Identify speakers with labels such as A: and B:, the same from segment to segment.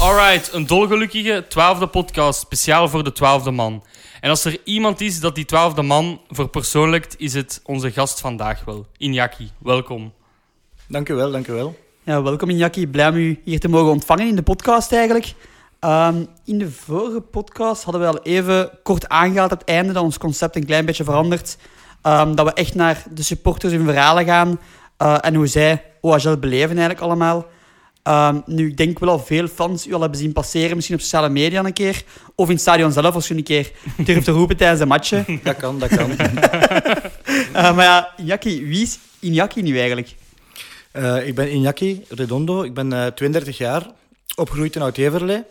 A: Alright, een dolgelukkige twaalfde podcast, speciaal voor de twaalfde man. En als er iemand is dat die twaalfde man verpersoonlijkt, is het onze gast vandaag wel. Iñaki, welkom.
B: Dank u wel, dank u wel.
C: Ja, welkom Injaki. Blij om u hier te mogen ontvangen in de podcast eigenlijk. Ehm, in de vorige podcast hadden we al even kort aangehaald aan het einde dat ons concept een klein beetje verandert. Ehm, dat we echt naar de supporters hun verhalen gaan eh, en hoe zij OHL beleven eigenlijk allemaal. Ehm, nu, ik denk wel al veel fans u al hebben zien passeren, misschien op sociale media een keer. Of in het stadion zelf, als je een keer durft te roepen tijdens een matje.
B: Dat kan, dat kan.
C: Eh, maar ja, Injaki, wie is Injaki nu eigenlijk?
B: Eh, ik ben Iñaki Redondo, ik ben eh, 32 jaar, opgegroeid in Oud-Everle.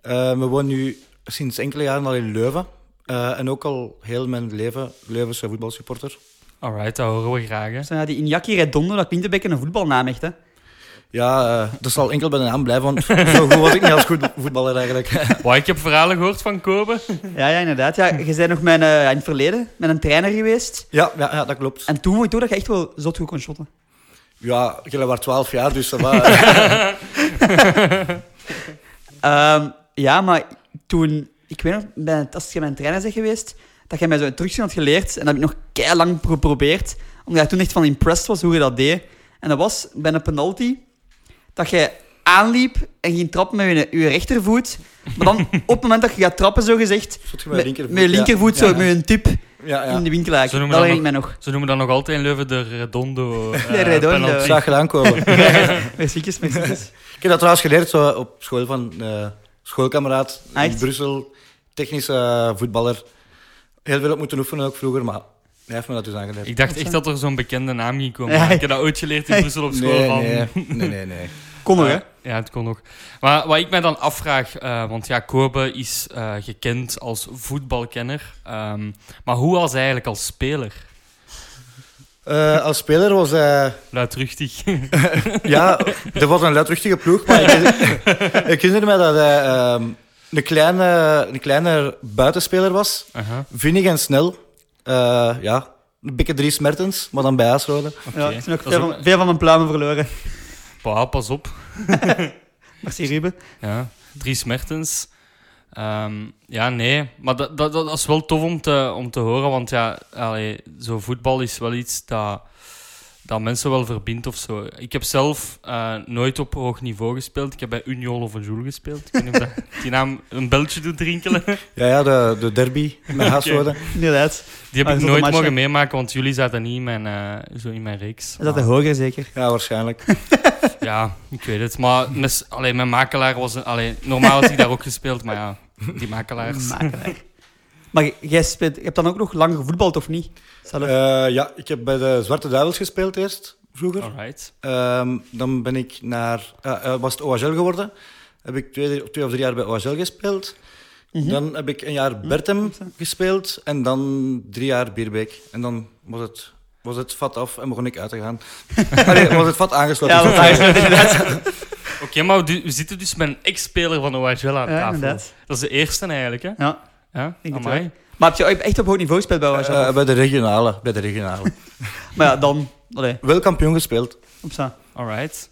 B: Eh, we wonen nu sinds enkele jaren al in Leuven. Eh, en ook al heel mijn leven Leuvense voetbalsupporter.
A: Alright, dat horen we graag. Hè.
C: Dus, eh, die Injaki Redondo, dat klinkt een beetje een voetbalnaam echt, hè?
B: Ja, eh, dat zal enkel bij de naam blijven, want zo goed was ik niet als goed voetballer eigenlijk.
A: Wow, ik heb verhalen gehoord van Kobe.
C: Ja, ja, inderdaad. Ja, je bent nog mijn, eh, in het verleden met een trainer geweest.
B: ja, ja, ja, dat klopt.
C: En toen vond je toch dat je echt wel zot goed kon shotten.
B: Ja, jullie waren 12 jaar, dus dat was...
C: Ehm, ja, maar toen... Ik weet nog, bij, als je mijn trainer bent geweest, dat jij mij zo een trucje had geleerd. En dat heb ik nog kei lang geprobeerd. Omdat ik toen echt van impressed was hoe je dat deed. En dat was bij een penalty, dat jij aanliep en ging trappen met je, je rechtervoet. Maar dan op het moment dat je gaat trappen, zo gezegd,
B: Zot je met je linkervoet,
C: met, met
B: ja.
C: je linkervoet,
B: Ja,
C: zo
B: ja.
C: met een tip
B: Ja, ja.
C: in de winkel. Dat
A: Zo noemen we
C: weet
A: dat
C: ik
A: nog.
C: mij nog.
A: Ze noemen dat nog altijd in Leuven de Redondo. eh,
C: De Redondo.
A: penalty.
B: Zag gedaan komen.
C: Met ziekjes, met ziekjes.
B: Ik heb dat trouwens geleerd zo op school van eh schoolkameraad in
C: Echt?
B: Brussel. Technische eh, voetballer. Heel veel op moeten oefenen ook vroeger, maar hij heeft me dat dus aangeleerd.
A: Ik dacht echt dat er zo'n bekende naam ging komen.
C: Ja.
A: Ik heb dat ooit geleerd in Brussel op school.
B: nee,
A: van...
B: nee, nee, nee, nee.
C: Kon nog, hè?
A: Eh, Ja, het kon nog. Maar wat ik mij dan afvraag, eh, want ja, Kobe is eh, gekend als voetbalkenner. ehm, maar hoe was hij eigenlijk als speler?
B: Eh, als speler was hij...
A: Luidruchtig.
B: ja, dat was een luidruchtige ploeg, maar ik, ik herinner me dat hij ehm, een, kleine, een kleine buitenspeler was.
A: Aha,
B: Vinnig en snel. Eh, ja, een beetje drie smertens, maar dan bij Aasrode.
A: oké.
C: Ja, ik ben ook
A: Dat is
C: veel,
A: ook-
C: van- veel van mijn pluimen verloren.
A: Bah, pas op.
C: Merci, Ruben.
A: Ja, drie smertens. Ehm, ja, nee. Maar dat, dat, dat is wel tof om te, om te horen. Want ja, allee, zo voetbal is wel iets dat, dat mensen wel verbindt of zo. Ik heb zelf eh, nooit op hoog niveau gespeeld. Ik heb bij Union of Joule gespeeld. Ik weet niet of dat die naam een beltje doet rinkelen.
B: Ja, ja, de, de derby met Aasrode.
C: Inderdaad.
A: Die
C: Ah,
A: heb ik
C: is dat
A: nooit
C: een match,
A: mogen
C: hè?
A: meemaken, want jullie zaten niet in mijn, eh, zo in mijn reeks.
C: Is dat de
A: Maar-
C: hoger, zeker?
B: Ja, waarschijnlijk.
A: Ja, ik weet het. Maar mes- allee, mijn makelaar was... Een, allee, normaal had ik daar ook gespeeld, maar ja, die makelaars...
C: Makelaar. Maar j- jij speelt, je hebt dan ook nog lang gevoetbald, of niet? Zelf.
B: Eh, ja, ik heb bij de Zwarte Duivels gespeeld eerst, vroeger.
A: Alright.
B: Ehm, dan ben ik naar... eh, eh, was het OHL geworden. Heb ik twee, twee of drie jaar bij OHL gespeeld.
C: Mhm.
B: Dan heb ik een jaar Bertem gespeeld. En dan drie jaar Bierbeek. En dan was het, was het vat af en begon ik uit te gaan. Allee, was het vat aangesloten.
C: ja, dat is inderdaad.
A: Oké, maar we, we zitten dus met een ex-speler van OHL aan tafel.
C: Ja, inderdaad.
A: Dat is de eerste eigenlijk, hè?
C: Ja.
A: Ja,
C: denk het
A: amai.
C: Maar heb je ooit echt op hoog niveau gespeeld bij
B: Eh,
C: OHL?
B: eh, bij de regionale. Bij de regionale.
C: maar ja, dan... Allee,
B: Wel kampioen gespeeld.
C: opstaan.
A: Alright.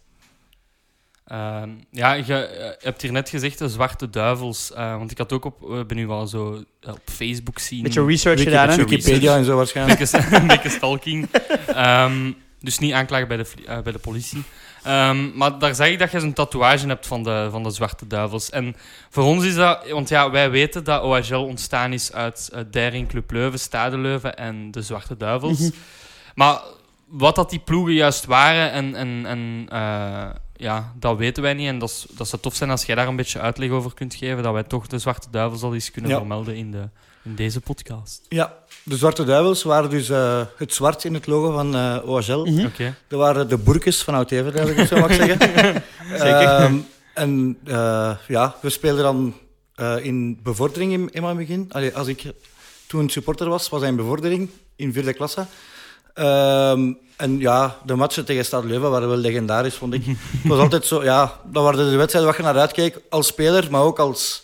A: Ehm, ja, je eh, hebt hier net gezegd de zwarte duivels. eh, want ik had ook op, eh, ben nu wel zo eh, op Facebook zien.
C: Beetje research
B: Wiki-
C: gedaan, hè?
A: beetje
B: Wikipedia en zo waarschijnlijk.
A: Een beetje- een beetje stalking. Ehm, dus niet aanklagen bij de, vlie- eh, bij de politie. Ehm, maar daar zag ik dat je zo'n tatoeage hebt van de, van de Zwarte Duivels. En voor ons is dat... Want ja, wij weten dat OHL ontstaan is uit eh Dering, Club Leuven, Stade Leuven en de Zwarte Duivels. Maar wat dat die ploegen juist waren, en, en, en, eh, ja, dat weten wij niet. En dat, is- dat zou tof zijn als jij daar een beetje uitleg over kunt geven. Dat wij toch de Zwarte Duivels al eens kunnen
B: Ja.
A: vermelden in, de, in deze podcast.
B: Ja, de Zwarte Duivels waren dus eh, het zwart in het logo van eh, OHL.
C: Mhm.
A: Oké.
B: Dat waren de boerkes van Oud-Evert, als ik het zo mag zeggen.
C: Zeker.
B: Ehm, en eh, ja, we speelden dan eh, in bevordering in, in mijn begin. Allee, als ik toen supporter was, was hij in bevordering, in vierde klasse. Ehm, en ja, de matchen tegen Stad Leuven waren wel legendarisch, vond ik. Het was altijd zo, ja, dat waren de wedstrijden waar je naar uitkeek als speler, maar ook als,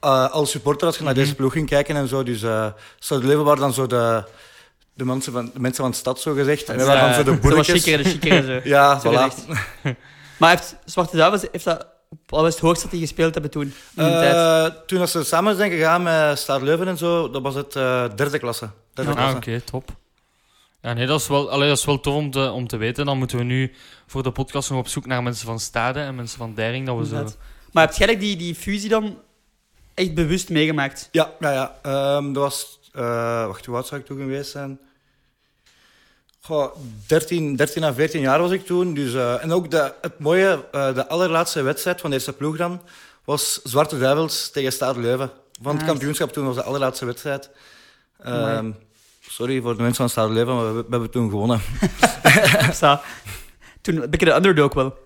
B: eh, als supporter, als je naar deze ploeg ging kijken en zo. Dus eh Stad Leuven waren dan zo de, de, mensen, van, de mensen van de stad, zo gezegd. En wij waren dan zo de
A: Eh,
C: Zo wat
B: boerkes.
C: chiquere, de chiquere, zo.
B: Ja,
C: Zo
B: voilà.
C: gezegd. Maar heeft Zwarte Duivels heeft dat op Wat was het hoogst dat die gespeeld hebben toen? In de tijd?
B: Eh, toen dat ze samen zijn gegaan met Staar Leuven en zo, dat was het eh, derde klasse. Derde
C: Ja.
A: Ah,
B: klasse.
A: oké, top. Ja, nee, dat is wel, allee, dat is wel tof om te, om te weten. Dan moeten we nu voor de podcast nog op zoek naar mensen van Stade en mensen van Dering. Dat we zo...
C: Inderdaad. Maar heb jij eigenlijk die, die fusie dan echt bewust meegemaakt?
B: Ja, ja, ja. Ehm, dat was... eh, wacht, hoe oud zou ik toen geweest zijn? Goh, 13, 13 à 14 jaar was ik toen. Dus, eh, en ook de, het mooie, eh, de allerlaatste wedstrijd van deze ploeg dan, was Zwarte Duivels tegen Stade Leuven. Van het
C: Ah.
B: kampioenschap toen was de allerlaatste wedstrijd. Ehm,
C: Amai.
B: sorry voor de mensen van Stade Leuven, maar we, we hebben toen gewonnen.
C: Of zo? toen ben ik de underdog wel.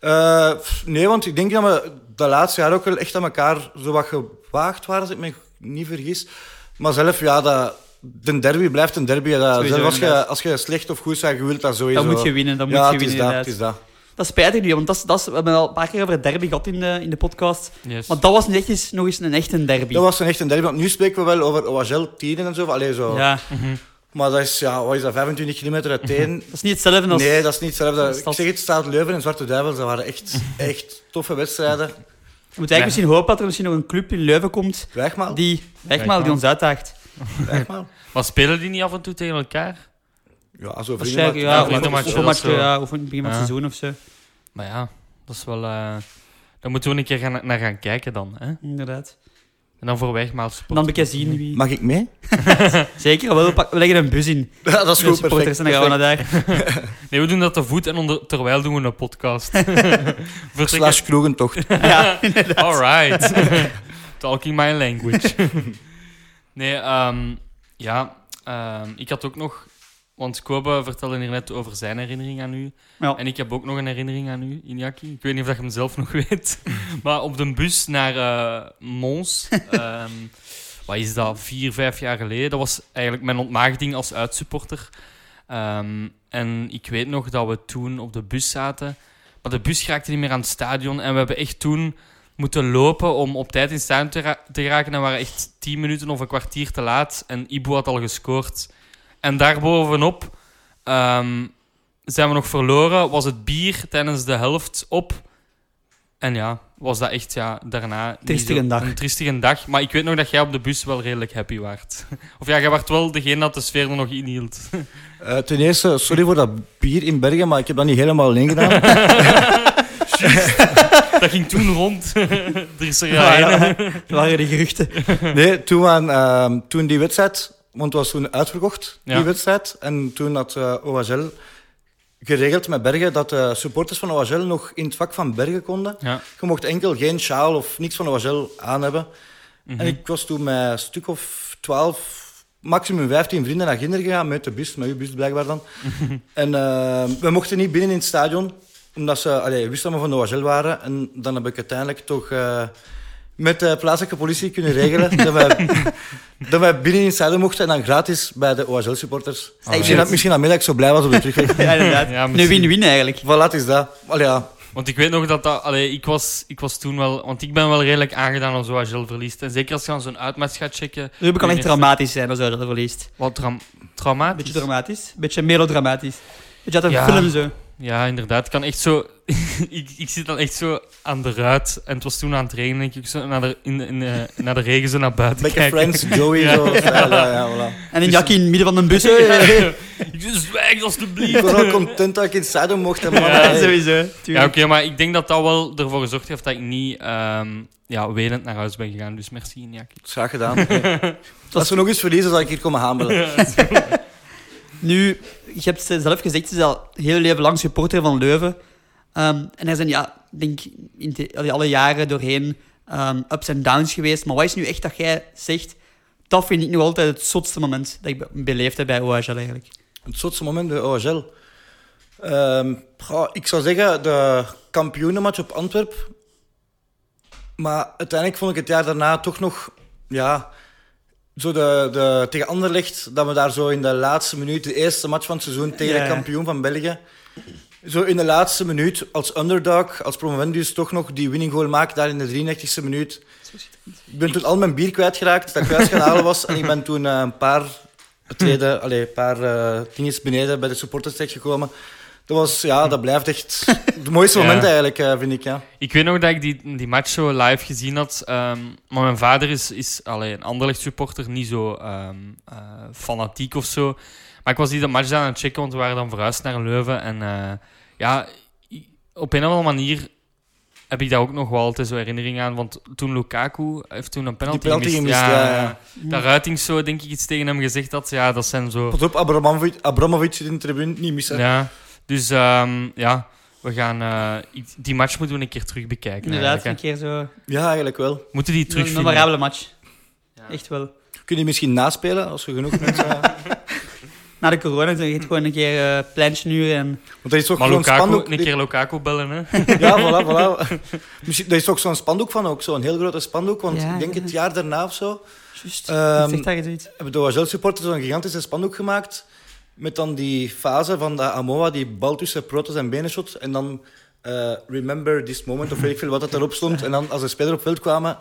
B: Eh, pff, nee, want ik denk dat we de laatste jaar ook wel echt aan elkaar zo wat gewaagd waren, als ik me niet vergis. Maar zelf, ja, dat, de derby blijft een derby. hè. Dat,
C: Sowieso,
B: zelf als je,
C: inderdaad.
B: als je slecht of goed bent, je wilt dat sowieso.
C: Dan moet je winnen, dan moet
B: ja,
C: je
B: het is
C: winnen
B: dat,
C: inderdaad.
B: het is dat.
C: Dat is spijtig nu, want dat is, dat is, we hebben al een paar keer over het derby gehad in de, in de podcast.
A: Yes.
C: Maar dat was niet echt eens, nog eens een echte derby.
B: Dat was een echt een derby, want nu spreken we wel over OHL 10 en zo. Allee, zo.
C: Ja,
A: Mhm.
B: Maar dat is, ja, wat is dat, 25 kilometer uiteen?
C: dat is niet hetzelfde als...
B: Nee, dat is niet hetzelfde.
C: dat is
B: Ik zeg het, Staat Leuven en Zwarte Duivels, dat waren echt, echt toffe wedstrijden.
C: Je moet eigenlijk
A: Ja.
C: misschien hopen dat er misschien nog een club in Leuven komt
B: Wijgmaal,
C: die, echt maar,
A: maar.
C: die ons uitdaagt.
B: Wijgmaal.
A: Maar spelen die niet af en toe tegen elkaar?
B: Ja, zo vrienden.
C: Waarschijnlijk,
A: ja,
C: ja,
A: vrienden-
C: of-
A: match,
C: of
A: dat
C: een match,
A: is zo.
C: ja, of in het begin van het
A: Ja.
C: seizoen of zo.
A: Maar ja, dat is wel... eh, Daar moeten we een keer gaan, naar gaan kijken dan. Hè?
C: Inderdaad.
A: En dan voor Wijgmaal
C: En
A: support.
C: dan bekijken zien wie...
B: Mag ik mee?
C: Zeker, wel, pak- we leggen een bus in.
B: Ja, dat is
C: Met
B: goed,
C: supporters
B: perfect.
C: en dan gaan we naar daar.
A: Nee, we doen dat te voet en onder... terwijl doen we een podcast. Vertrekken-
B: Slash kroegentocht.
C: Ja,
A: All right. Talking my language. nee, ehm, ja. ehm, ik had ook nog... Want Kobe vertelde hier net over zijn herinnering aan u.
C: Ja.
A: En ik heb ook nog een herinnering aan u, Iñaki. Ik weet niet of dat je hem zelf nog weet. Maar op de bus naar eh, Mons... ehm, wat is dat? Vier, vijf jaar geleden. Dat was eigenlijk mijn ontmaagding als uitsupporter. Ehm, en ik weet nog dat we toen op de bus zaten. Maar de bus raakte niet meer aan het stadion. En we hebben echt toen moeten lopen om op tijd in het stadion te, ra- te raken. En waren echt 10 minuten of een kwartier te laat. En Ibu had al gescoord. En daarbovenop ehm, zijn we nog verloren. Was het bier tijdens de helft op. En ja, was dat echt ja, daarna... niet
C: Triestige
A: zo-
C: dag.
A: Een triestige dag. Maar ik weet nog dat jij op de bus wel redelijk happy waart. Of ja, jij waart wel degene dat de sfeer er nog in hield.
B: Eh, ten eerste, sorry voor dat bier in Bergen, maar ik heb dat niet helemaal alleen gedaan.
A: Dat ging toen rond. er is er
C: Ja,
A: ja,
C: ja. Dat waren de geruchten.
B: Nee, toen, waren, ehm, toen die wedstrijd, want het was toen uitverkocht,
A: Ja.
B: die wedstrijd. En toen had eh OHL geregeld met Bergen dat de supporters van OHL nog in het vak van Bergen konden.
A: Ja.
B: Je mocht enkel geen sjaal of niks van OHL aan hebben.
A: Mhm.
B: En ik was toen met een stuk of twaalf, maximum 15 vrienden naar Ginder gegaan met de bus, met uw bus blijkbaar dan. en eh, we mochten niet binnen in het stadion, omdat ze allee, wisten dat we van de OHL waren. En dan heb ik uiteindelijk toch eh, met de plaatselijke politie kunnen regelen dat, wij, dat wij binnen in het stadion mochten en dan gratis bij de OHL-supporters.
A: Alright.
B: Misschien, dat- misschien dat middag zo blij was op de terugweg.
C: Ja, inderdaad.
A: Ja,
C: een
A: misschien.
C: win-win eigenlijk.
B: Voilà, het is dat. Allee, ja.
A: Want ik weet nog dat dat... Allee, ik, was, ik was toen wel... Want ik ben wel redelijk aangedaan als OHL verliest. En zeker als je aan zo'n uitmatch gaat checken.
C: Dat kan echt
A: Nee,
C: dramatisch zijn als je dat verliest.
A: Wat traum
C: Een
A: traumatisch.
C: beetje dramatisch, een beetje melodramatisch. Beetje uit een
A: Ja.
C: film zo.
A: Ja, inderdaad. Ik kan echt zo... ik, ik zit dan echt zo aan de ruit. En het was toen aan het regenen. Ik keek zo naar de, in, in, eh, naar de regen zo naar buiten
B: Beetje
A: kijken.
B: Friends, Joey,
A: Ja.
B: zo. Ja, ja, ja, voilà.
A: Dus-
C: En een jakkie in het midden van een bus.
A: ik zeg, zwijg
B: Ik
A: alstublieft.
B: was al content dat ik in het stadion mocht. hè, man.
A: Ja,
B: Hey.
C: Ja, sowieso.
A: Ja,
C: Tuurlijk.
A: oké, maar ik denk dat dat wel ervoor gezorgd heeft dat ik niet ehm ja, wenend naar huis ben gegaan. Dus merci, Iñaki.
B: Dat is graag gedaan. Als we nog eens verliezen, zal ik hier komen hamelen.
C: Nu, je hebt zelf gezegd, ze is al heel leven lang supporter van Leuven. Ehm, en er zijn, ja, ik denk in de- allee, alle jaren doorheen ehm, ups en downs geweest. Maar wat is nu echt dat jij zegt, dat vind ik nog altijd het zotste moment dat ik be- beleefd heb bij OHL eigenlijk.
B: Het zotste moment bij OHL. Ehm, goh, ik zou zeggen, de kampioenenmatch op Antwerp. Maar uiteindelijk vond ik het jaar daarna toch nog... Ja, zo de, de, tegen Anderlecht, dat we daar zo in de laatste minuut... De eerste match van het seizoen tegen
C: Ja,
B: de
C: ja.
B: kampioen van België. Zo in de laatste minuut, als underdog, als promovendus, toch nog die winning goal maken daar in de 93e minuut. Ik ben toen al mijn bier kwijtgeraakt, dat ik thuis gaan halen was. En ik ben toen eh, een paar treden, allee, een paar eh dingetjes beneden bij de supporters terechtgekomen. Dat, was, ja, dat blijft echt het mooiste
A: Ja.
B: moment eigenlijk, eh, vind ik. Ja.
A: Ik weet nog dat ik die, die match zo live gezien had. ehm, maar mijn vader is, is allee, een anderlecht supporter, niet zo ehm, eh, fanatiek of zo. Maar ik was die de match dan aan het checken, want we waren dan verhuisd naar Leuven. En eh, ja, i- op een of andere manier heb ik daar ook nog wel altijd zo herinnering aan. Want toen Lukaku heeft toen een penalty,
B: Die penalty gemist, ja, ja.
A: Dat Ruitings zo, denk ik, iets tegen hem gezegd had. Ja, dat zijn zo...
B: Pas op, Abramovic, Abramovic zit in de tribune, niet missen.
A: Ja, dus ehm, ja, we gaan... eh, ik- die match moeten we een keer terug bekijken.
C: Inderdaad,
A: eigenlijk, hè.
C: een keer zo.
B: Ja, eigenlijk wel.
A: Moeten die
C: Een
A: terugvinden.
C: memorabele match.
A: Ja.
C: Echt wel.
B: Kun je misschien naspelen, als je genoeg mensen... eh, Want
C: Na de corona dan je gewoon een keer eh pleintje huren en...
B: dat is toch
A: Maar
B: zo'n
A: Lukaku,
B: spandoek...
A: een keer Lukaku bellen, hè?
B: Ja, voilà, voilà. Misschien, daar is ook zo'n spandoek van, ook zo'n heel grote spandoek. Want
C: Ja,
B: ik denk
C: ja.
B: het jaar daarna of zo...
C: Juist,
B: Ehm,
C: wat zegt daar zoiets.
B: hebben de OHL-supporters zo'n gigantische spandoek gemaakt. Met dan die fase van de Amoa, die bal tussen Protos en benen shot. En dan eh, remember this moment, of weet ik veel wat dat erop stond. En dan als de spelers op veld kwamen,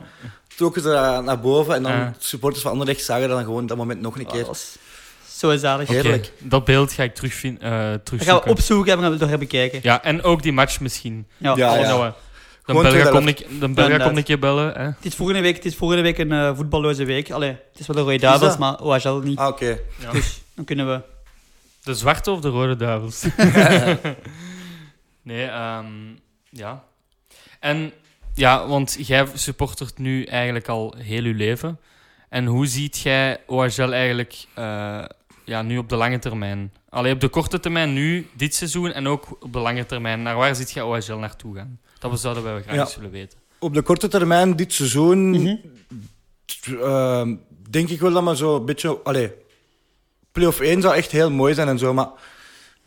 B: trokken ze dat naar boven. En dan
A: Ja.
B: supporters van Anderlecht zagen dan gewoon dat moment nog een keer.
C: Oh, Ah, Dat was zo zalig.
B: Ja. Heerlijk.
A: Oké, dat beeld ga ik terugvin- eh
C: Dat gaan we
A: terugzoeken.
C: opzoeken en we gaan het door hebben kijken.
A: ja, en ook die match misschien.
C: Ja.
B: Ja,
A: Als
B: ja.
A: dat we-
B: Gewoon
A: de Belga
B: tweede
A: komt een- de Belga
C: Inderdaad.
A: komt een keer bellen, hè?
C: Het is volgende week, het is volgende week een eh, voetballoze week. Allee, het is wel de Rode Duivels,
B: dat?
C: maar OHL niet.
B: Ah, oké.
A: Ja.
C: Dus dan kunnen we...
A: De zwarte of de rode duivels? nee, ehm, ja. En ja, want jij supportert nu eigenlijk al heel je leven. En hoe ziet jij OHL eigenlijk eh, ja, nu op de lange termijn? Alleen op de korte termijn nu, dit seizoen, en ook op de lange termijn. Naar waar ziet jij OHL naartoe gaan? Dat we- zouden wij graag
B: Ja.
A: eens willen weten.
B: Op de korte termijn, dit seizoen,
C: Mhm.
B: t- ehm, denk ik wel dat we zo een beetje... Allee, play-off 1 zou echt heel mooi zijn en zo, maar...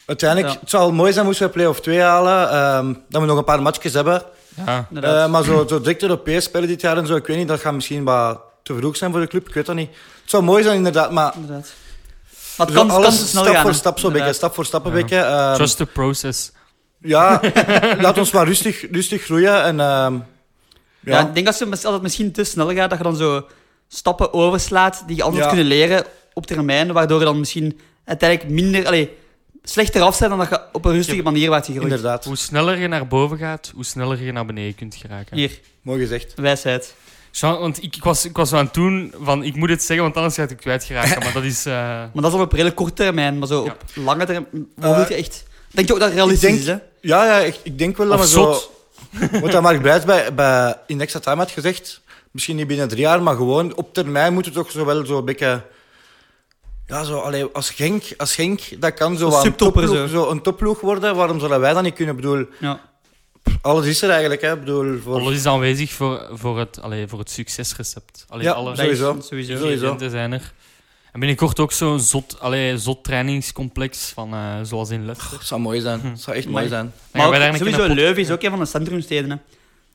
B: Uiteindelijk,
C: Ja.
B: het zou mooi zijn moesten we play-off 2 halen. ehm, dat we nog een paar matchjes hebben.
A: Ja,
C: Inderdaad.
B: Eh, maar zo, zo direct Europees spelen dit jaar en zo, ik weet niet, dat gaat misschien wat te vroeg zijn voor de club, ik weet dat niet. Het zou mooi zijn inderdaad, maar
C: inderdaad. Maar
B: zo
C: het kan, het kan
B: alles
C: zo snel
B: stap
C: gaan.
B: voor
C: hè.
B: stap zo'n beetje,
C: Inderdaad.
B: stap voor stap een
A: Ja.
B: beetje. ehm,
A: just the process.
B: Ja, laat ons maar rustig, rustig groeien en ehm,
C: Ja.
B: ja.
C: ik denk dat, ze, mis- dat het misschien te snel gaat, dat je dan zo stappen overslaat die je anders
B: Ja.
C: kunnen leren op termijn, waardoor je dan misschien uiteindelijk minder, allee, slechter af bent dan dat je op een rustige manier waart gegroeid.
B: inderdaad.
A: Hoe sneller je naar boven gaat, hoe sneller je naar beneden kunt geraken.
C: Hier,
B: Mooi gezegd.
C: wijsheid.
A: Jean, want ik, ik, was, ik was zo aan het doen van ik moet het zeggen, want anders ga ik het kwijtgeraken. Maar dat is. eh,
C: Maar dat is al op redelijk korte termijn, maar zo
A: Ja.
C: op lange termijn, wat wil je echt... Denk je ook dat het realistisch
B: Eh, ik denk-
C: is, hè?
B: Ja, ja ik, ik denk wel dat
A: of
B: we zo...
A: zot.
B: Wat dat Mark Brijs bij, bij in Extra Time had gezegd, misschien niet binnen drie jaar, maar gewoon op termijn moeten we toch zo wel zo'n beetje... Ja, zo, allee, als, Genk, als Genk, dat kan zo
C: Als
B: wat een
C: subtopper
B: topploeg-
C: zo.
B: zo een topploeg worden. Waarom zouden wij dat niet kunnen? Ik bedoel,
C: Ja.
B: Alles is er eigenlijk, hè? Ik bedoel, voor...
A: Alles is aanwezig voor, voor, het, allee, voor het succesrecept. Allee,
B: Ja,
A: alle
B: sowieso.
C: Sowieso.
B: Sowieso.
A: ingrediënten zijn er. En binnenkort ook zo'n zot, allee, zot trainingscomplex, van, eh, zoals in Leicester.
B: Het zou mooi
A: Hm.
B: zijn. Het zou echt mooi
C: Mooi.
B: zijn.
A: Dan gaan
C: Maar
A: wij
C: ook-
A: daar een keer
C: sowieso,
A: een pod-
C: Leuven is ook een van de centrumsteden. Hè.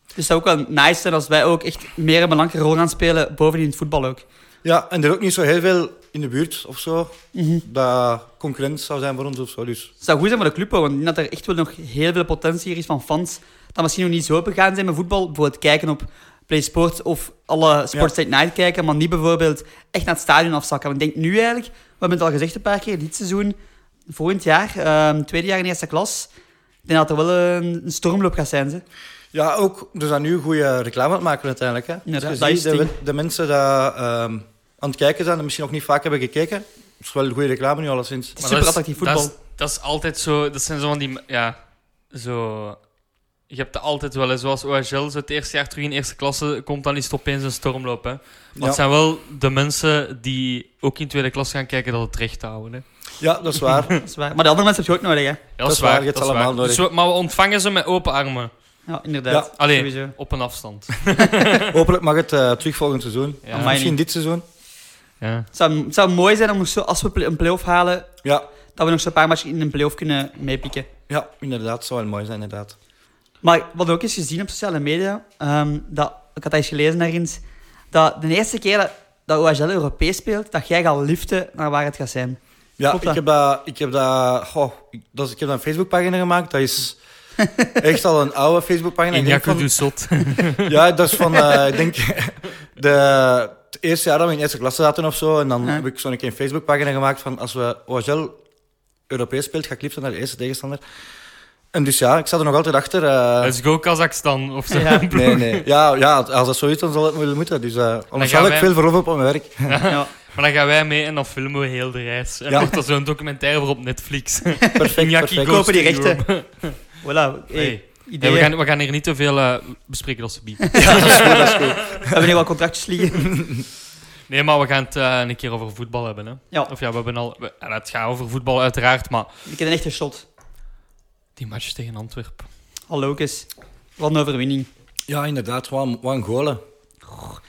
C: Dus het zou ook wel nice zijn als wij ook echt meer een belangrijke rol gaan spelen, bovenin het voetbal ook.
B: Ja, en er ook niet zo heel veel in de buurt of zo,
A: Mhm.
B: dat concurrent zou zijn voor ons of zo. Dus
C: Het zou goed zijn voor de club, hoor, want ik denk dat er echt wel nog heel veel potentie hier is van fans. Dat misschien nog niet zo begaan zijn met voetbal. Bijvoorbeeld kijken op PlaySport of alle Sports Late Night kijken, maar niet bijvoorbeeld echt naar het stadion afzakken. Want ik denk nu eigenlijk, we hebben het al gezegd een paar keer, dit seizoen, volgend jaar, ehm, tweede jaar in eerste klas, ik denk dat er wel een, een stormloop gaat zijn. Ze.
B: ja, ook, dus aan nu goede reclame aan het maken uiteindelijk. Hè?
C: Inderdaad,
B: Dus
C: dat
B: je
C: is
B: ziet
C: het
B: de, de mensen die ehm, aan het kijken zijn en misschien nog niet vaak hebben gekeken, dat is wel een goede reclame nu alleszins.
C: Het is
A: Maar
C: super
A: dat is-
C: attractief
A: dat is-
C: voetbal.
A: Dat is altijd zo. Dat zijn zo van die. Ja, zo. Je hebt dat altijd wel eens. Zoals OHL, zo het eerste jaar terug in eerste klasse komt, dan is het opeens een stormloop. Hè. Maar
B: Ja.
A: het zijn wel de mensen die ook in tweede klas gaan kijken dat het recht houden. Hè.
B: Ja, dat is waar.
C: Dat is waar. Maar de andere mensen heb je ook nodig, hè?
A: Ja,
B: Dat is waar, je hebt
A: dat is
B: allemaal
A: waar.
B: nodig.
A: Dus we- maar we ontvangen ze met open armen.
C: Ja, inderdaad.
B: Ja.
A: Allee.
C: Sowieso.
A: Op een afstand.
B: Hopelijk mag het eh, terug volgend seizoen.
A: Ja.
C: Amai.
B: Misschien dit seizoen.
A: Ja.
C: Het zou, het zou mooi zijn om nog zo, als we pla- een play-off halen,
B: Ja,
C: dat we nog zo'n paar matchen in een play-off kunnen meepikken.
B: ja inderdaad. Het zou wel mooi zijn, inderdaad.
C: Maar wat ook is gezien op sociale media, ehm, dat, ik had dat eens gelezen ergens, dat de eerste keer dat, dat OHL Europees speelt, dat jij gaat liften naar waar het gaat zijn.
B: Ja,
C: Klopt
B: ik
C: dat?
B: heb dat, ik heb dat, goh, ik, dat is- ik heb dat een Facebookpagina gemaakt. Dat is echt al een oude Facebookpagina.
A: In
B: Ik denk
A: Jakku
B: van-
A: du Sot.
B: Ja, dat is van, eh, ik denk, de, het eerste jaar dat we in eerste klasse zaten of zo. En dan
C: Ja.
B: heb ik zo'n keer een Facebookpagina gemaakt van als we OHL Europees speelt, gaat Clipsen naar de eerste tegenstander. En dus ja, ik sta er nog altijd achter. eh,
A: Let's go Kazachstan of zo.
C: Ja.
B: nee, nee. Ja, ja, als dat zo is, dan zal het wel moeten. Dus, eh, anders
A: gaan
B: had ik
A: wij-
B: veel verlof op mijn werk.
C: Ja.
A: Maar dan gaan wij mee en dan filmen we heel de reis. En
B: Ja.
A: wordt er zo'n documentaire voor op Netflix.
B: Perfect,
A: Iñaki
B: perfect.
A: Goes
C: Kopen die
A: to
C: rechten.
A: Europe.
C: Voilà. Hey,
A: Hey. Ja,
C: ideeën.
A: we, gaan, we gaan hier niet te veel eh, bespreken als ze bieden.
C: We hebben hier wel contractjes liggen.
A: Nee, maar we gaan het eh, een keer over voetbal hebben. Hè?
C: Ja.
A: Of ja, we hebben al. we- en het gaat over voetbal, uiteraard. Maar
C: Ik heb een echte shot.
A: die match tegen Antwerpen.
C: Hallo, Kees. Wat een overwinning.
B: Ja, inderdaad, wat een- wat een golen.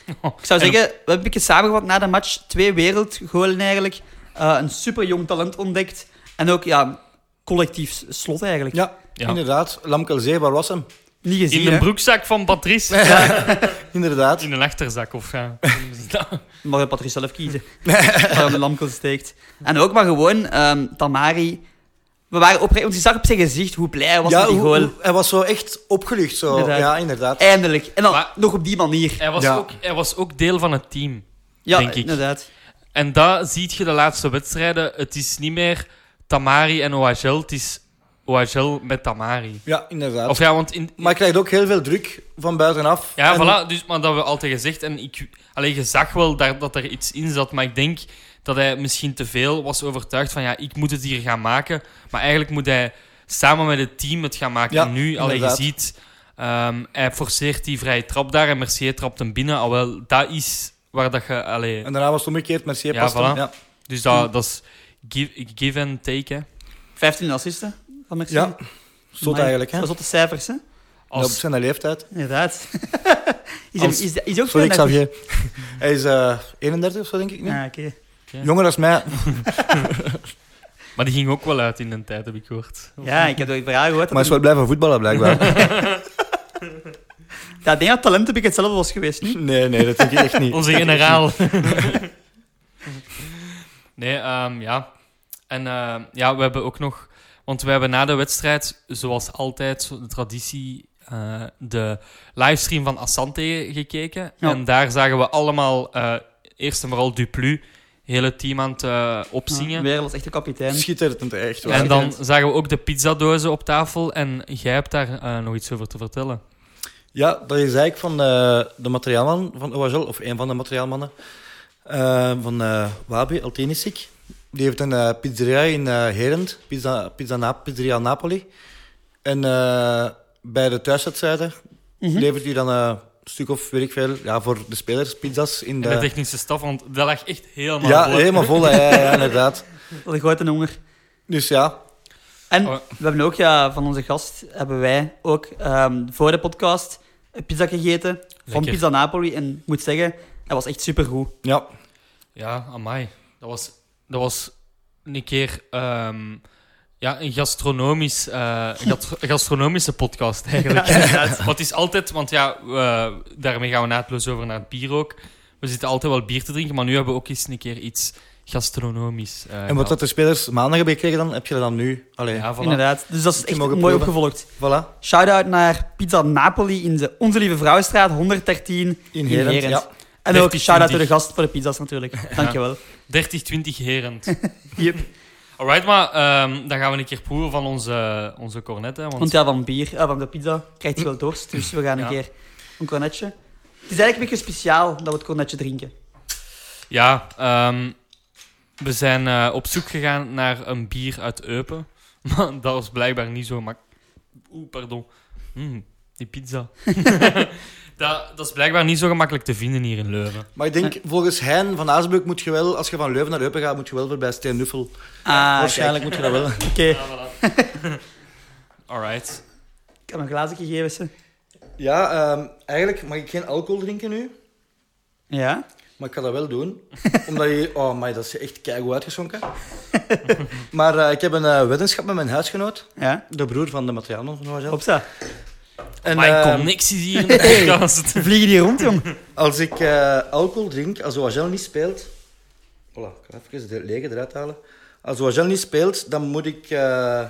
C: Ik zou
A: En-
C: zeggen, we hebben een beetje samengevat na de match. Twee wereldgolen eigenlijk. Eh, een super jong talent ontdekt. En ook, ja, collectief slot eigenlijk.
B: Ja,
A: Ja.
B: inderdaad. Lamkelzee, waar was hem?
C: Niet
A: In
C: gezien,
A: de
C: hè.
A: broekzak van Patrice.
B: Inderdaad.
A: In een achterzak of ja.
C: Mag je Patrice zelf kiezen. Waarom de lamkel steekt. En ook maar gewoon, ehm, Tamari. We waren oprecht, want je zag op zijn gezicht hoe blij hij was met die
B: hoe-
C: goal.
B: hoe- hij was zo echt opgelucht. Zo.
C: Inderdaad.
B: Ja, inderdaad.
C: Eindelijk. En dan
A: Maar-
C: nog op die manier.
A: Hij was,
B: Ja.
A: ook, hij was ook deel van het team.
C: Ja,
A: denk ik.
C: inderdaad.
A: En daar ziet je de laatste wedstrijden. Het is niet meer Tamari en OHL. Het is OHL met Tamari.
B: Ja, inderdaad.
A: Of ja, want in,
B: Maar hij krijgt ook heel veel druk van buitenaf.
A: Ja,
B: En-
A: voilà. Dus, maar dat hebben we altijd gezegd. En ik, alleen, je zag wel daar, dat er iets in zat. Maar ik denk dat hij misschien te veel was overtuigd van... Ja, ik moet het hier gaan maken. Maar eigenlijk moet hij samen met het team het gaan maken.
B: Ja,
A: en nu, alleen, je
B: inderdaad.
A: ziet... ehm, hij forceert die vrije trap daar. En Mercier trapt hem binnen. Alhoewel, dat is waar dat je... Allee,
B: En daarna was het omgekeerd, Mercier
A: Ja,
B: past hem.
A: voilà.
B: Ja.
A: dus dat, dat is give, give and take, hè.
C: 15 assisten van Mercier.
B: ja, zot
C: Amai.
B: eigenlijk. Hè?
C: Dat is de cijfers, hè?
B: Op
A: Als,
B: zijn leeftijd.
C: Inderdaad. is,
A: Als-
C: is, is
B: Sorry,
C: ook veel net-
B: Xavier. hij is eh 31 of zo, denk ik nu.
C: Ja, oké.
B: Jonger als mij.
A: maar die ging ook wel uit in de tijd, heb ik gehoord.
C: Ja, ik heb het ook verhaal gehoord.
B: Maar hij is
C: Dat,
B: wel blij van voetballen, blijkbaar.
C: dat ding aan talent heb ik hetzelfde was geweest, niet?
B: nee, nee, dat denk ik echt niet.
A: Onze generaal. nee, ehm, ja. En ehm, ja, we hebben ook nog... Want we hebben na de wedstrijd, zoals altijd, zo- de traditie, eh, de livestream van Assante gekeken.
C: Ja.
A: En daar zagen we allemaal, eh, eerst en vooral Duplu, hele team aan het eh, opzingen.
C: Weer als echte kapitein.
B: Schitterend, echt waar.
A: en dan zagen we ook de pizzadozen op tafel. En jij hebt daar eh, nog iets over te vertellen.
B: Ja, dat is eigenlijk van eh, de materiaalman van OHL, of een van de materiaalmannen, eh, van eh, Wabi Altenisik. Die heeft een eh, pizzeria in eh Herend, pizza, pizza Na- Pizzeria Napoli. En eh, bij de thuiswedstrijden
C: Mhm.
B: levert hij dan eh, een stuk of weet ik veel ja, voor de spelers pizzas in
A: En de
B: de.
A: technische staf, want dat lag echt helemaal
B: Ja,
A: vol.
B: helemaal vol, hè, ja, ja, inderdaad.
C: Dat gooit een honger.
B: Dus ja,
C: En
A: Oh.
C: we hebben ook ja, van onze gast, hebben wij ook ehm, voor de podcast een pizza gegeten van
A: Lekker.
C: Pizza Napoli. En ik moet zeggen, hij was echt supergoed.
B: ja.
A: Ja, amai. Dat was, dat was een keer ehm, ja, een, gastronomisch, eh, een gat- een gastronomische podcast eigenlijk. want het is altijd, want ja, we- daarmee gaan we naadloos over naar het bier ook. We zitten altijd wel bier te drinken, maar nu hebben we ook eens een keer iets gastronomisch. eh,
B: En wat dat
A: gehad.
B: de spelers maandag hebben gekregen, dan heb je dat dan nu. Allee,
A: Ja, voilà.
C: Inderdaad. Dus dat is
B: Die
C: echt mooi
B: mogen proeven.
C: opgevolgd.
B: voilà.
C: Shout-out naar Pizza Napoli in de Onze Lieve Vrouwstraat 113
B: In
C: in
B: Herend,
C: Herend.
B: ja.
C: En ook
A: 30,
C: shout-out naar de
A: 20.
C: gast voor de pizza's natuurlijk. Dankjewel.
A: 30-20 herend.
C: Yep.
A: Alright, maar ehm, dan gaan we een keer proeven van onze, onze cornet. Hè, want
C: Want ja, van bier, eh, van de pizza, krijgt je wel dorst. Dus we gaan een
A: Ja.
C: keer een cornetje. Het is eigenlijk een beetje speciaal dat we het cornetje drinken.
A: Ja, ehm, we zijn eh, op zoek gegaan naar een bier uit Eupen. Maar dat was blijkbaar niet zo mak... Oeh, pardon. Mm, die pizza. dat, dat is blijkbaar niet zo gemakkelijk te vinden hier in Leuven.
B: Maar ik denk, volgens Hein van Aasbeuk moet je wel, als je van Leuven naar Eupen gaat, moet je wel voorbij Steen Nuffel.
C: Ah,
B: Waarschijnlijk moet je dat wel.
C: kijk. Oké,
A: Alright.
C: ik heb een glazen gegeven.
B: Ja, ehm, eigenlijk mag ik geen alcohol drinken nu,
C: Ja.
B: maar ik ga dat wel doen. Omdat je... Oh, maar dat is echt keigoed uitgeschonken. maar eh, ik heb een eh, weddenschap met mijn huisgenoot,
C: Ja,
B: de broer van de materiaalman van Roger.
C: hopsa.
B: En
A: Mijn
B: eh,
A: connecties hier in de podcast.
C: Vliegen die rond, jong?
B: als ik eh, alcohol drink, als Roger niet speelt... Voilà, ik ga even de lege eruit halen. Als Roger niet speelt, dan moet ik eh,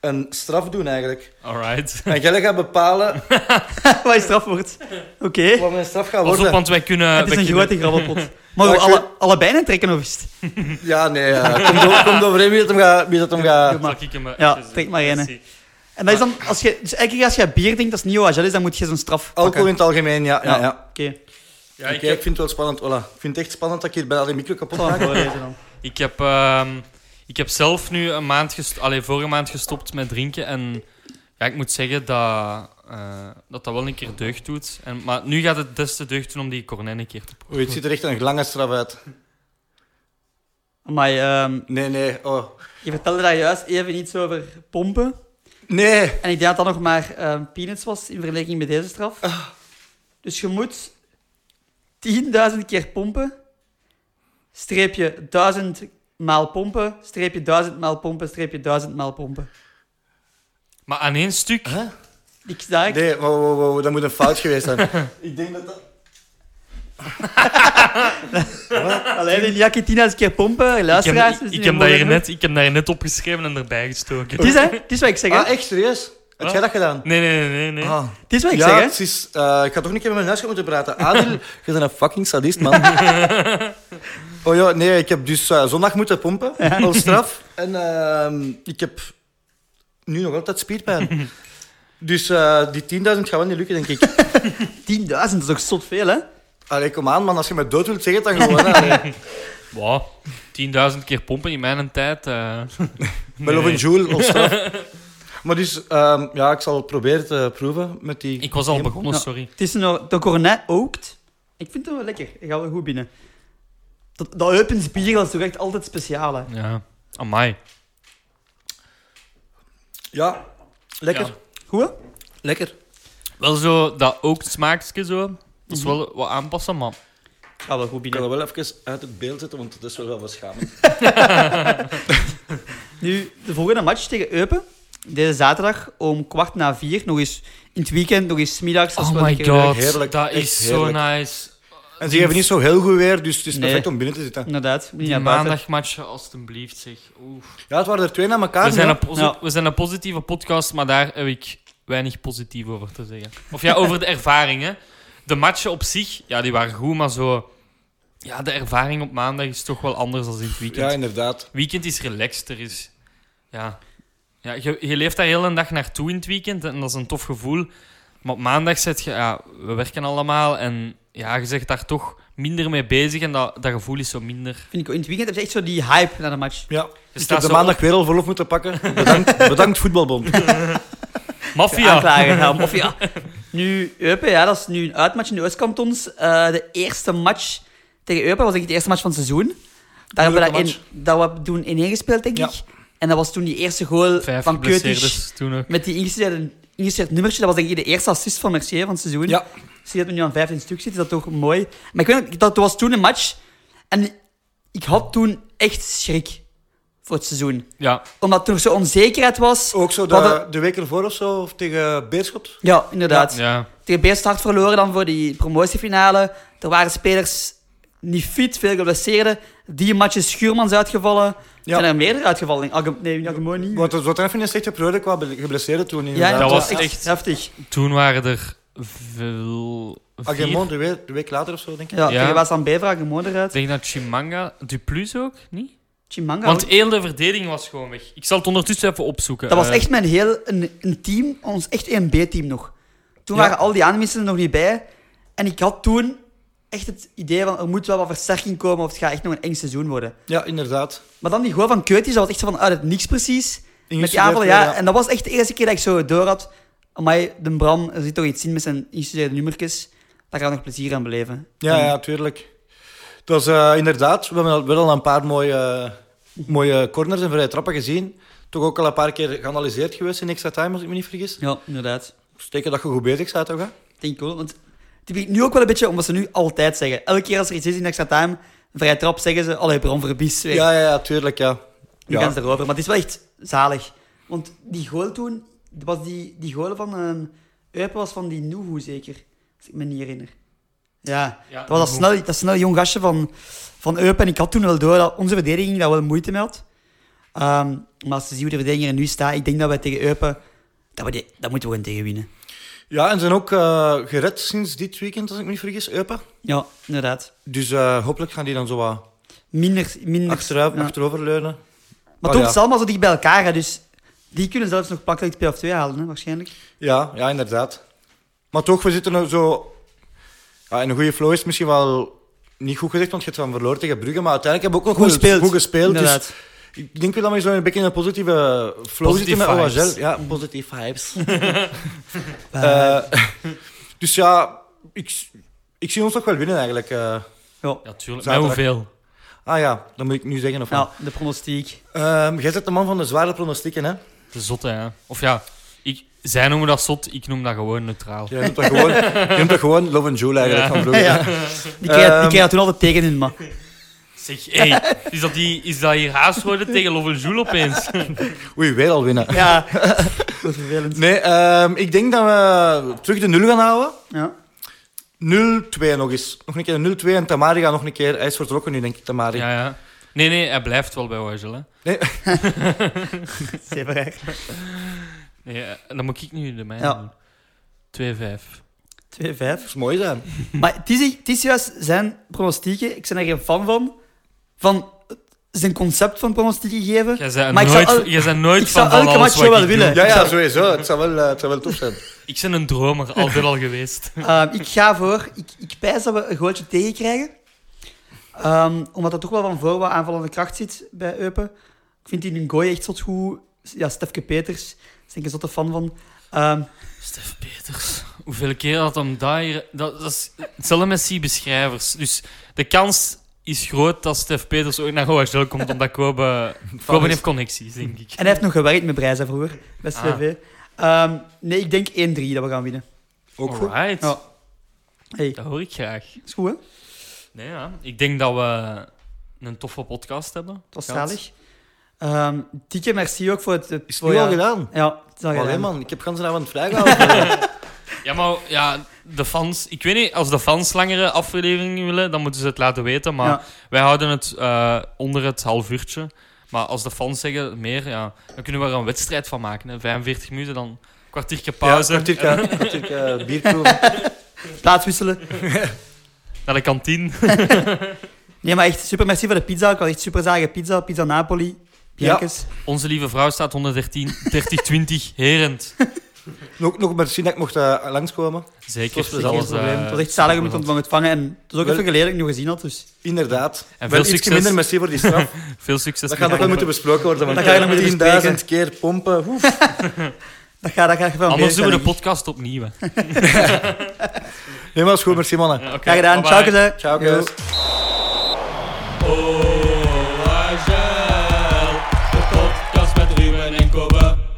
B: een straf doen eigenlijk.
A: Alright.
B: En jij gaat bepalen
C: Wat je straf wordt. Oké.
B: wat mijn straf gaat
A: Pas
B: worden.
A: op, want wij kunnen...
C: Het is
A: wij
C: een
A: kunnen-
C: grote grabbelpot. Mogen we
B: Ja, ik
C: alle, allebei een trekken of is het?
B: Ja, nee. eh, komt, o- komt overeen wie dat hem gaat... Wie dat hem gaat...
A: Zal ik hem, eh,
C: Ja,
A: even-
C: trek maar in, hè.
A: Merci.
C: En dat is dan, als je, dus elke keer als je bier denkt, dat is niet OHL is, dan moet je zo'n straf
B: Alcohol in
C: pakken.
B: het algemeen, ja. ja, ja.
C: Oké,
A: Ja,
B: Oké,
A: ik
B: ik,
A: heb-
B: vind het wel spannend. Voilà. Ik vind het echt spannend dat ik hier bijna de micro kapot
C: ik zal hem
B: maak.
C: voorlezen dan.
A: Ik heb, ehm, ik heb zelf nu een maand gest- allee, vorige maand gestopt met drinken. En ja, ik moet zeggen dat, eh, dat dat wel een keer deugd doet. En, maar nu gaat het des te deugd doen om die cornet een keer te proeven.
B: Oei, het ziet er echt een lange straf uit.
C: Maar ehm,
B: Nee, nee. Oh.
C: je vertelde daar juist even iets over pompen.
B: Nee.
C: En ik denk dat dat nog maar ehm, peanuts was in vergelijking met deze straf.
B: Ah.
C: Dus je moet 10.000 keer pompen, streepje 1000 maal pompen, streepje 1000 maal pompen, streepje 1000 maal pompen.
A: Maar aan één stuk,
C: Ah,
B: Huh?
C: Ik sta ik.
B: Nee, wow, wow, wow, dat moet een fout geweest zijn. ik denk dat dat...
C: Alleen in Jackie 10.000 keer pompen,
A: ik heb,
C: luisteraars.
A: ik,
C: dus
A: ik
C: die
A: heb dat
C: mogen
A: hier
C: doen.
A: net, ik heb dat hier net opgeschreven en erbij gestoken.
C: Het is, hè? Het is wat ik zeg, hè?
B: Ah, echt serieus? Heb jij dat gedaan?
A: Nee, nee, nee, nee. nee.
B: Ah.
C: Het is wat ik
B: ja,
C: zeg, hè?
B: het is, eh, ik ga toch niet keer met mijn huisgenoot moeten praten. Adil, je bent een fucking sadist, man. oh ja, nee, ik heb dus eh, zondag moeten pompen, als straf. En ehm, ik heb nu nog altijd spierpijn. Dus eh, die 10.000 gaat wel niet lukken, denk ik.
C: 10.000, dat is toch zot veel, hè?
B: Allee, kom aan, man. Als je me dood wilt, zeg het dan gewoon. hè. Allee.
A: Wow, 10.000 keer pompen in mijn tijd. eh.
B: Wel of een joule, als straf. Maar dus, ehm, ja, ik zal het proberen te proeven met die...
A: Ik was al begonnen, sorry.
C: Het is een, de cornet ookt. Ik vind het wel lekker. Ik ga wel goed binnen. Dat, dat Eupens bier dat is toch echt altijd speciaal, hè?
A: Ja, amai.
B: Ja, lekker.
A: Ja.
C: Goed, hè?
B: Lekker.
A: Wel zo, dat ook smaakje zo. Dat
C: Mhm.
A: is wel wat aanpassen, maar...
C: Ik ga wel goed
B: Ik kan
C: binnen.
B: dat wel even uit het beeld zetten, want het is wel wel verschamend.
C: Nu, de volgende match tegen Eupen. Deze zaterdag om kwart na vier. Nog eens in het weekend, nog eens 's middags. als we
A: Oh my
C: lekker werken.
A: god,
B: Heerlijk,
A: dat
B: echt
A: is zo
B: heerlijk.
A: nice.
B: En ze geven niet zo heel goed weer, dus het is perfect
C: Nee.
B: om binnen te zitten.
C: Inderdaad, moet niet
A: Die
C: naar buiten.
A: maandagmatchen, alstublieft, zeg. Oef.
B: Ja, het waren er twee na elkaar.
A: We, zijn
B: hè?
A: een posi-
C: Ja.
A: we zijn een positieve podcast, maar daar heb ik weinig positief over te zeggen. Of ja, over de ervaring, hè. De matchen op zich, ja, die waren goed, maar zo... Ja, de ervaring op maandag is toch wel anders dan in het weekend.
B: Ja, inderdaad.
A: weekend is relaxter. Is, ja. Ja, je, je leeft daar heel een dag naartoe in het weekend en dat is een tof gevoel. Maar op maandag zet je, ja, we werken allemaal en ja, je zegt daar toch minder mee bezig en dat, dat gevoel is zo minder.
C: Vind ik, in het weekend heb je echt zo die hype naar de match.
B: Ja.
A: Je
B: ik heb
A: staat
B: de
A: zo
B: maandag weer al verlof moeten pakken. Bedankt, bedankt voetbalbond.
A: op- Maffia!
C: Aanklagen gaan, of ja. Nu, Eupen, ja, dat is nu een uitmatch in de Oostkantons. Eh, de eerste match tegen Eupen was denk ik de eerste match van het seizoen. Daar hebben we dat, in,
B: Moeilijke
C: dat we toen in ingespeeld, denk
B: Ja. dus.
C: ik. En dat was toen die eerste goal
A: Vijf
C: van Keutisch.
A: geblesseerdes toen ook.
C: Met die ingestudeerde ingestudeerd nummertje, dat was denk ik de eerste assist van Mercier van het seizoen.
B: Ja.
C: Zie je dat we nu aan 15 stuk zitten, is dat toch mooi. Maar ik weet nog, dat was toen een match. En ik had toen echt schrik voor het seizoen.
A: Ja,
C: Omdat toen er zo onzekerheid was.
B: Ook zo
C: We hadden-
B: de, de week ervoor of zo, of tegen Beerschot.
C: Ja, inderdaad.
A: ja.
C: Tegen Beerst hard verloren dan voor die promotiefinale. Er waren spelers niet fit, veel geblesseerden. Die match is Schuurmans uitgevallen.
B: Ja.
C: Zijn er meerdere uitgevallen? In Algem- nee, in Algemeen niet.
B: Want het was even een slechte periode qua be- geblesseerden toen.
C: ja,
B: Inderdaad.
A: Dat was
C: ja,
A: echt-
C: heftig.
A: Toen waren er veel. vier.
B: Agemon, de, we- de week later of zo, denk ik.
C: Ja,
A: Ja.
C: tegen Waas aan Bevraag, gewoon
A: Ik
C: eruit.
A: denk dat Chimanga, Duplus ook, niet?
C: Chimanga.
A: Want heel de verdediging was gewoon weg. Ik zal het ondertussen even opzoeken.
C: dat was
A: Eh,
C: echt mijn heel een, een team, ons echt een B-team nog. Toen
B: Ja.
C: waren al die aanwisselen nog niet bij. En ik had toen echt het idee van er moet wel wat versterking komen of het gaat echt nog een eng seizoen worden.
B: Ja, inderdaad.
C: Maar dan die goal van Keutis, dat was echt zo van uit het niks precies. Met die
B: Ingestudeerd
C: aanval,
B: weer,
C: ja.
B: ja.
C: En dat was echt de eerste keer dat ik zo door had. Amai, de Bram, er zit toch iets in met zijn ingestudeerde nummertjes. Daar gaan we nog plezier aan beleven.
B: Ja, ja, tuurlijk. Het was eh, inderdaad, we hebben al- wel al een paar mooie, eh, mooie corners en vrije trappen gezien. Toch ook al een paar keer geanalyseerd geweest in extra time, als ik me niet vergis.
C: Ja, inderdaad.
B: Steken dat je goed bezig bent, toch? Hè?
C: Denk ik wel, want het begint nu ook wel een beetje omdat ze nu altijd zeggen. Elke keer als er iets is in extra time, vrij trap, zeggen ze, allee, Bram verbies weer.
B: Ja, ja, ja, tuurlijk, ja.
C: Nu
B: Ja.
C: gaan ze erover. Maar het is wel echt zalig. Want die goal toen, was die, die goal van ehm Eupen was van die Nuhu zeker. Als ik me niet herinner. Ja,
A: Eh, Ja,
C: dat was dat
A: Nuhu.
C: snel, dat snel jong gastje van, van Eupen. En ik had toen wel door dat onze verdediging daar wel moeite mee had. Ehm, maar als je ziet hoe de verdediging er nu staat, ik denk dat wij tegen Eupen, dat, we die- dat moeten we gewoon tegenwinnen.
B: Ja, en zijn ook eh, gered sinds dit weekend, als ik me niet vergis, Eupen.
C: Ja, inderdaad.
B: Dus eh, hopelijk gaan die dan zo wat
C: Minder, minder
B: achteruit,
C: ja.
B: achteroverleunen.
C: Maar
B: Oh, ja.
C: toch, het is allemaal zo dicht bij elkaar, hè, dus die kunnen zelfs nog pakken play of 2 halen, hè, waarschijnlijk.
B: Ja, ja, inderdaad. Maar toch, we zitten er zo... Ja, in een goede flow is misschien wel niet goed gezegd, want je hebt van verloren tegen Brugge, maar uiteindelijk hebben we ook nog
C: Goed
B: wel
C: gespeeld.
B: goed gespeeld. Dus
C: inderdaad.
B: ik denk wel dat we zo een beetje in een positieve flow
A: Positieve
B: zitten met
A: vibes.
B: OHL. Ja, positieve vibes. Eh, dus ja, ik, ik zie ons toch wel winnen eigenlijk. eh.
C: ja.
A: Ja, tuurlijk. Maar
B: Zaterdag.
A: hoeveel?
B: ah ja, dat moet ik nu zeggen. Of wat?
C: ja, de pronostiek.
B: Ehm, jij bent de man van de zware pronostieken, hè?
A: De zotte, ja. Of ja, ik, zij noemen dat zot, ik noem dat gewoon neutraal.
B: Jij noemt dat gewoon, jij noemt dat gewoon Love and Jewel eigenlijk
A: Ja.
B: van
C: Ja,
B: vroeger.
C: ja. Die
B: Ehm.
C: krijgen die krijgen toen altijd tegen in, maar...
A: Zeg, hey, is, dat die, is dat hier Haasrode tegen Love Joule opeens?
B: Oei, wij al winnen.
C: Ja, dat is vervelend.
B: Nee, ehm, ik denk dat we terug de 0 gaan houden.
C: Ja.
B: 0-2 nog eens. Nog een keer 0-2 en Tamari gaat nog een keer. Hij is vertrokken nu, denk ik, Tamari.
A: Ja, ja. Nee, nee, hij blijft wel bij OHL, hè.
C: Zeker eigenlijk.
A: Nee, eh, dan moet ik nu de mijne
C: Ja.
A: doen. 2-5.
C: 2-5.
B: Dat is mooi zijn.
C: Mm. Maar het is, het is juist zijn pronostieken, ik ben er geen fan van, van zijn concept van pronostieken geven.
A: Jij zei
C: Maar ik zou
A: nooit,
C: el-
A: jij zei nooit
C: ik
A: van,
C: zou
A: van
C: elke
A: alles
C: match
A: wat
C: zo
A: ik
C: wel
A: doe.
C: willen.
B: Ja, ja, sowieso. Het zou wel, eh, het zou wel tof zijn.
A: Ik ben een dromer, altijd al geweest.
C: Ehm, ik ga voor, ik, ik pijs dat we een gootje tegenkrijgen. Ehm, omdat dat toch wel van voor wat aanvallende kracht zit bij Eupen. Ik vind die Ngooi echt zot goed. Ja, Stefke Peters, daar ben ik een zotte fan van. Ehm,
A: Stef Peters. Hoeveel keer had hem daar... hier- Dat, dat is hetzelfde met die beschrijvers. Dus de kans is groot dat Stef Peters ooit naar OHL komt, omdat Kobe... Kobe heeft connecties, denk ik.
C: en hij heeft nog gewerkt met Breiza vroeger, bij
A: Ah.
C: CV. Ehm, nee, ik denk 1-3 dat we gaan winnen.
B: Ook goed.
A: Alright.
C: Ja. Hey,
A: Dat hoor ik graag.
C: is goed hè? Dat
A: Nee, ja. Ik denk dat we een toffe podcast hebben. Dat
C: was zalig. Ehm dikke merci ook voor het...
B: Is het
C: voor
B: nu al
C: jou-
B: gedaan?
C: Ja, het is al
B: Allee,
C: gedaan.
B: man. Ik heb gans avond vrijgehouden.
A: Ja, maar ja, de fans... Ik weet niet, als de fans langere afleveringen willen, dan moeten ze het laten weten. Maar
C: Ja.
A: wij houden het eh, onder het half uurtje. Maar als de fans zeggen meer, ja, dan kunnen we er een wedstrijd van maken. Hè. 45 minuten, dan kwartiertje pauze.
B: Natuurlijk,
A: en
B: natuurlijk eh, bierproeven.
C: Plaatswisselen.
A: naar de kantine.
C: Nee, maar echt super merci voor de pizza. Ik had echt super zalige pizza. Pizza Napoli. Bianca's.
A: Onze lieve vrouw staat 113, 30, 20, herend.
B: Nog, nog merci dat ik mocht eh, langskomen.
A: Zeker.
B: Het was
A: dat
B: geen
A: was,
C: Geen probleem.
A: eh,
C: Het was echt zalig om je te ontvangen. ontvangen. En het is ook
B: Wel-
C: even geleden dat ik nog gezien had. Dus.
B: Inderdaad.
A: En
B: Wel
A: veel
B: ietsje
A: succes.
B: minder merci voor die straf.
A: Veel succes. met
B: Dat gaat nog
A: Kobe.
B: wel moeten besproken worden. Want
C: Dat ga je nog moeten
B: 10.000 keer pompen. Oef.
C: Dat ga, dat ga ik wel
A: Anders doen we de
C: pot.
A: podcast opnieuw. hè.
B: Helemaal goed, merci mannen.
A: Ja, oké,
C: Graag gedaan.
A: bye-bye.
C: Ciao, gezegd.
B: Ciao,
C: Yo.
B: guys.
D: Oh, Agel, de podcast met Ruben en Koppen.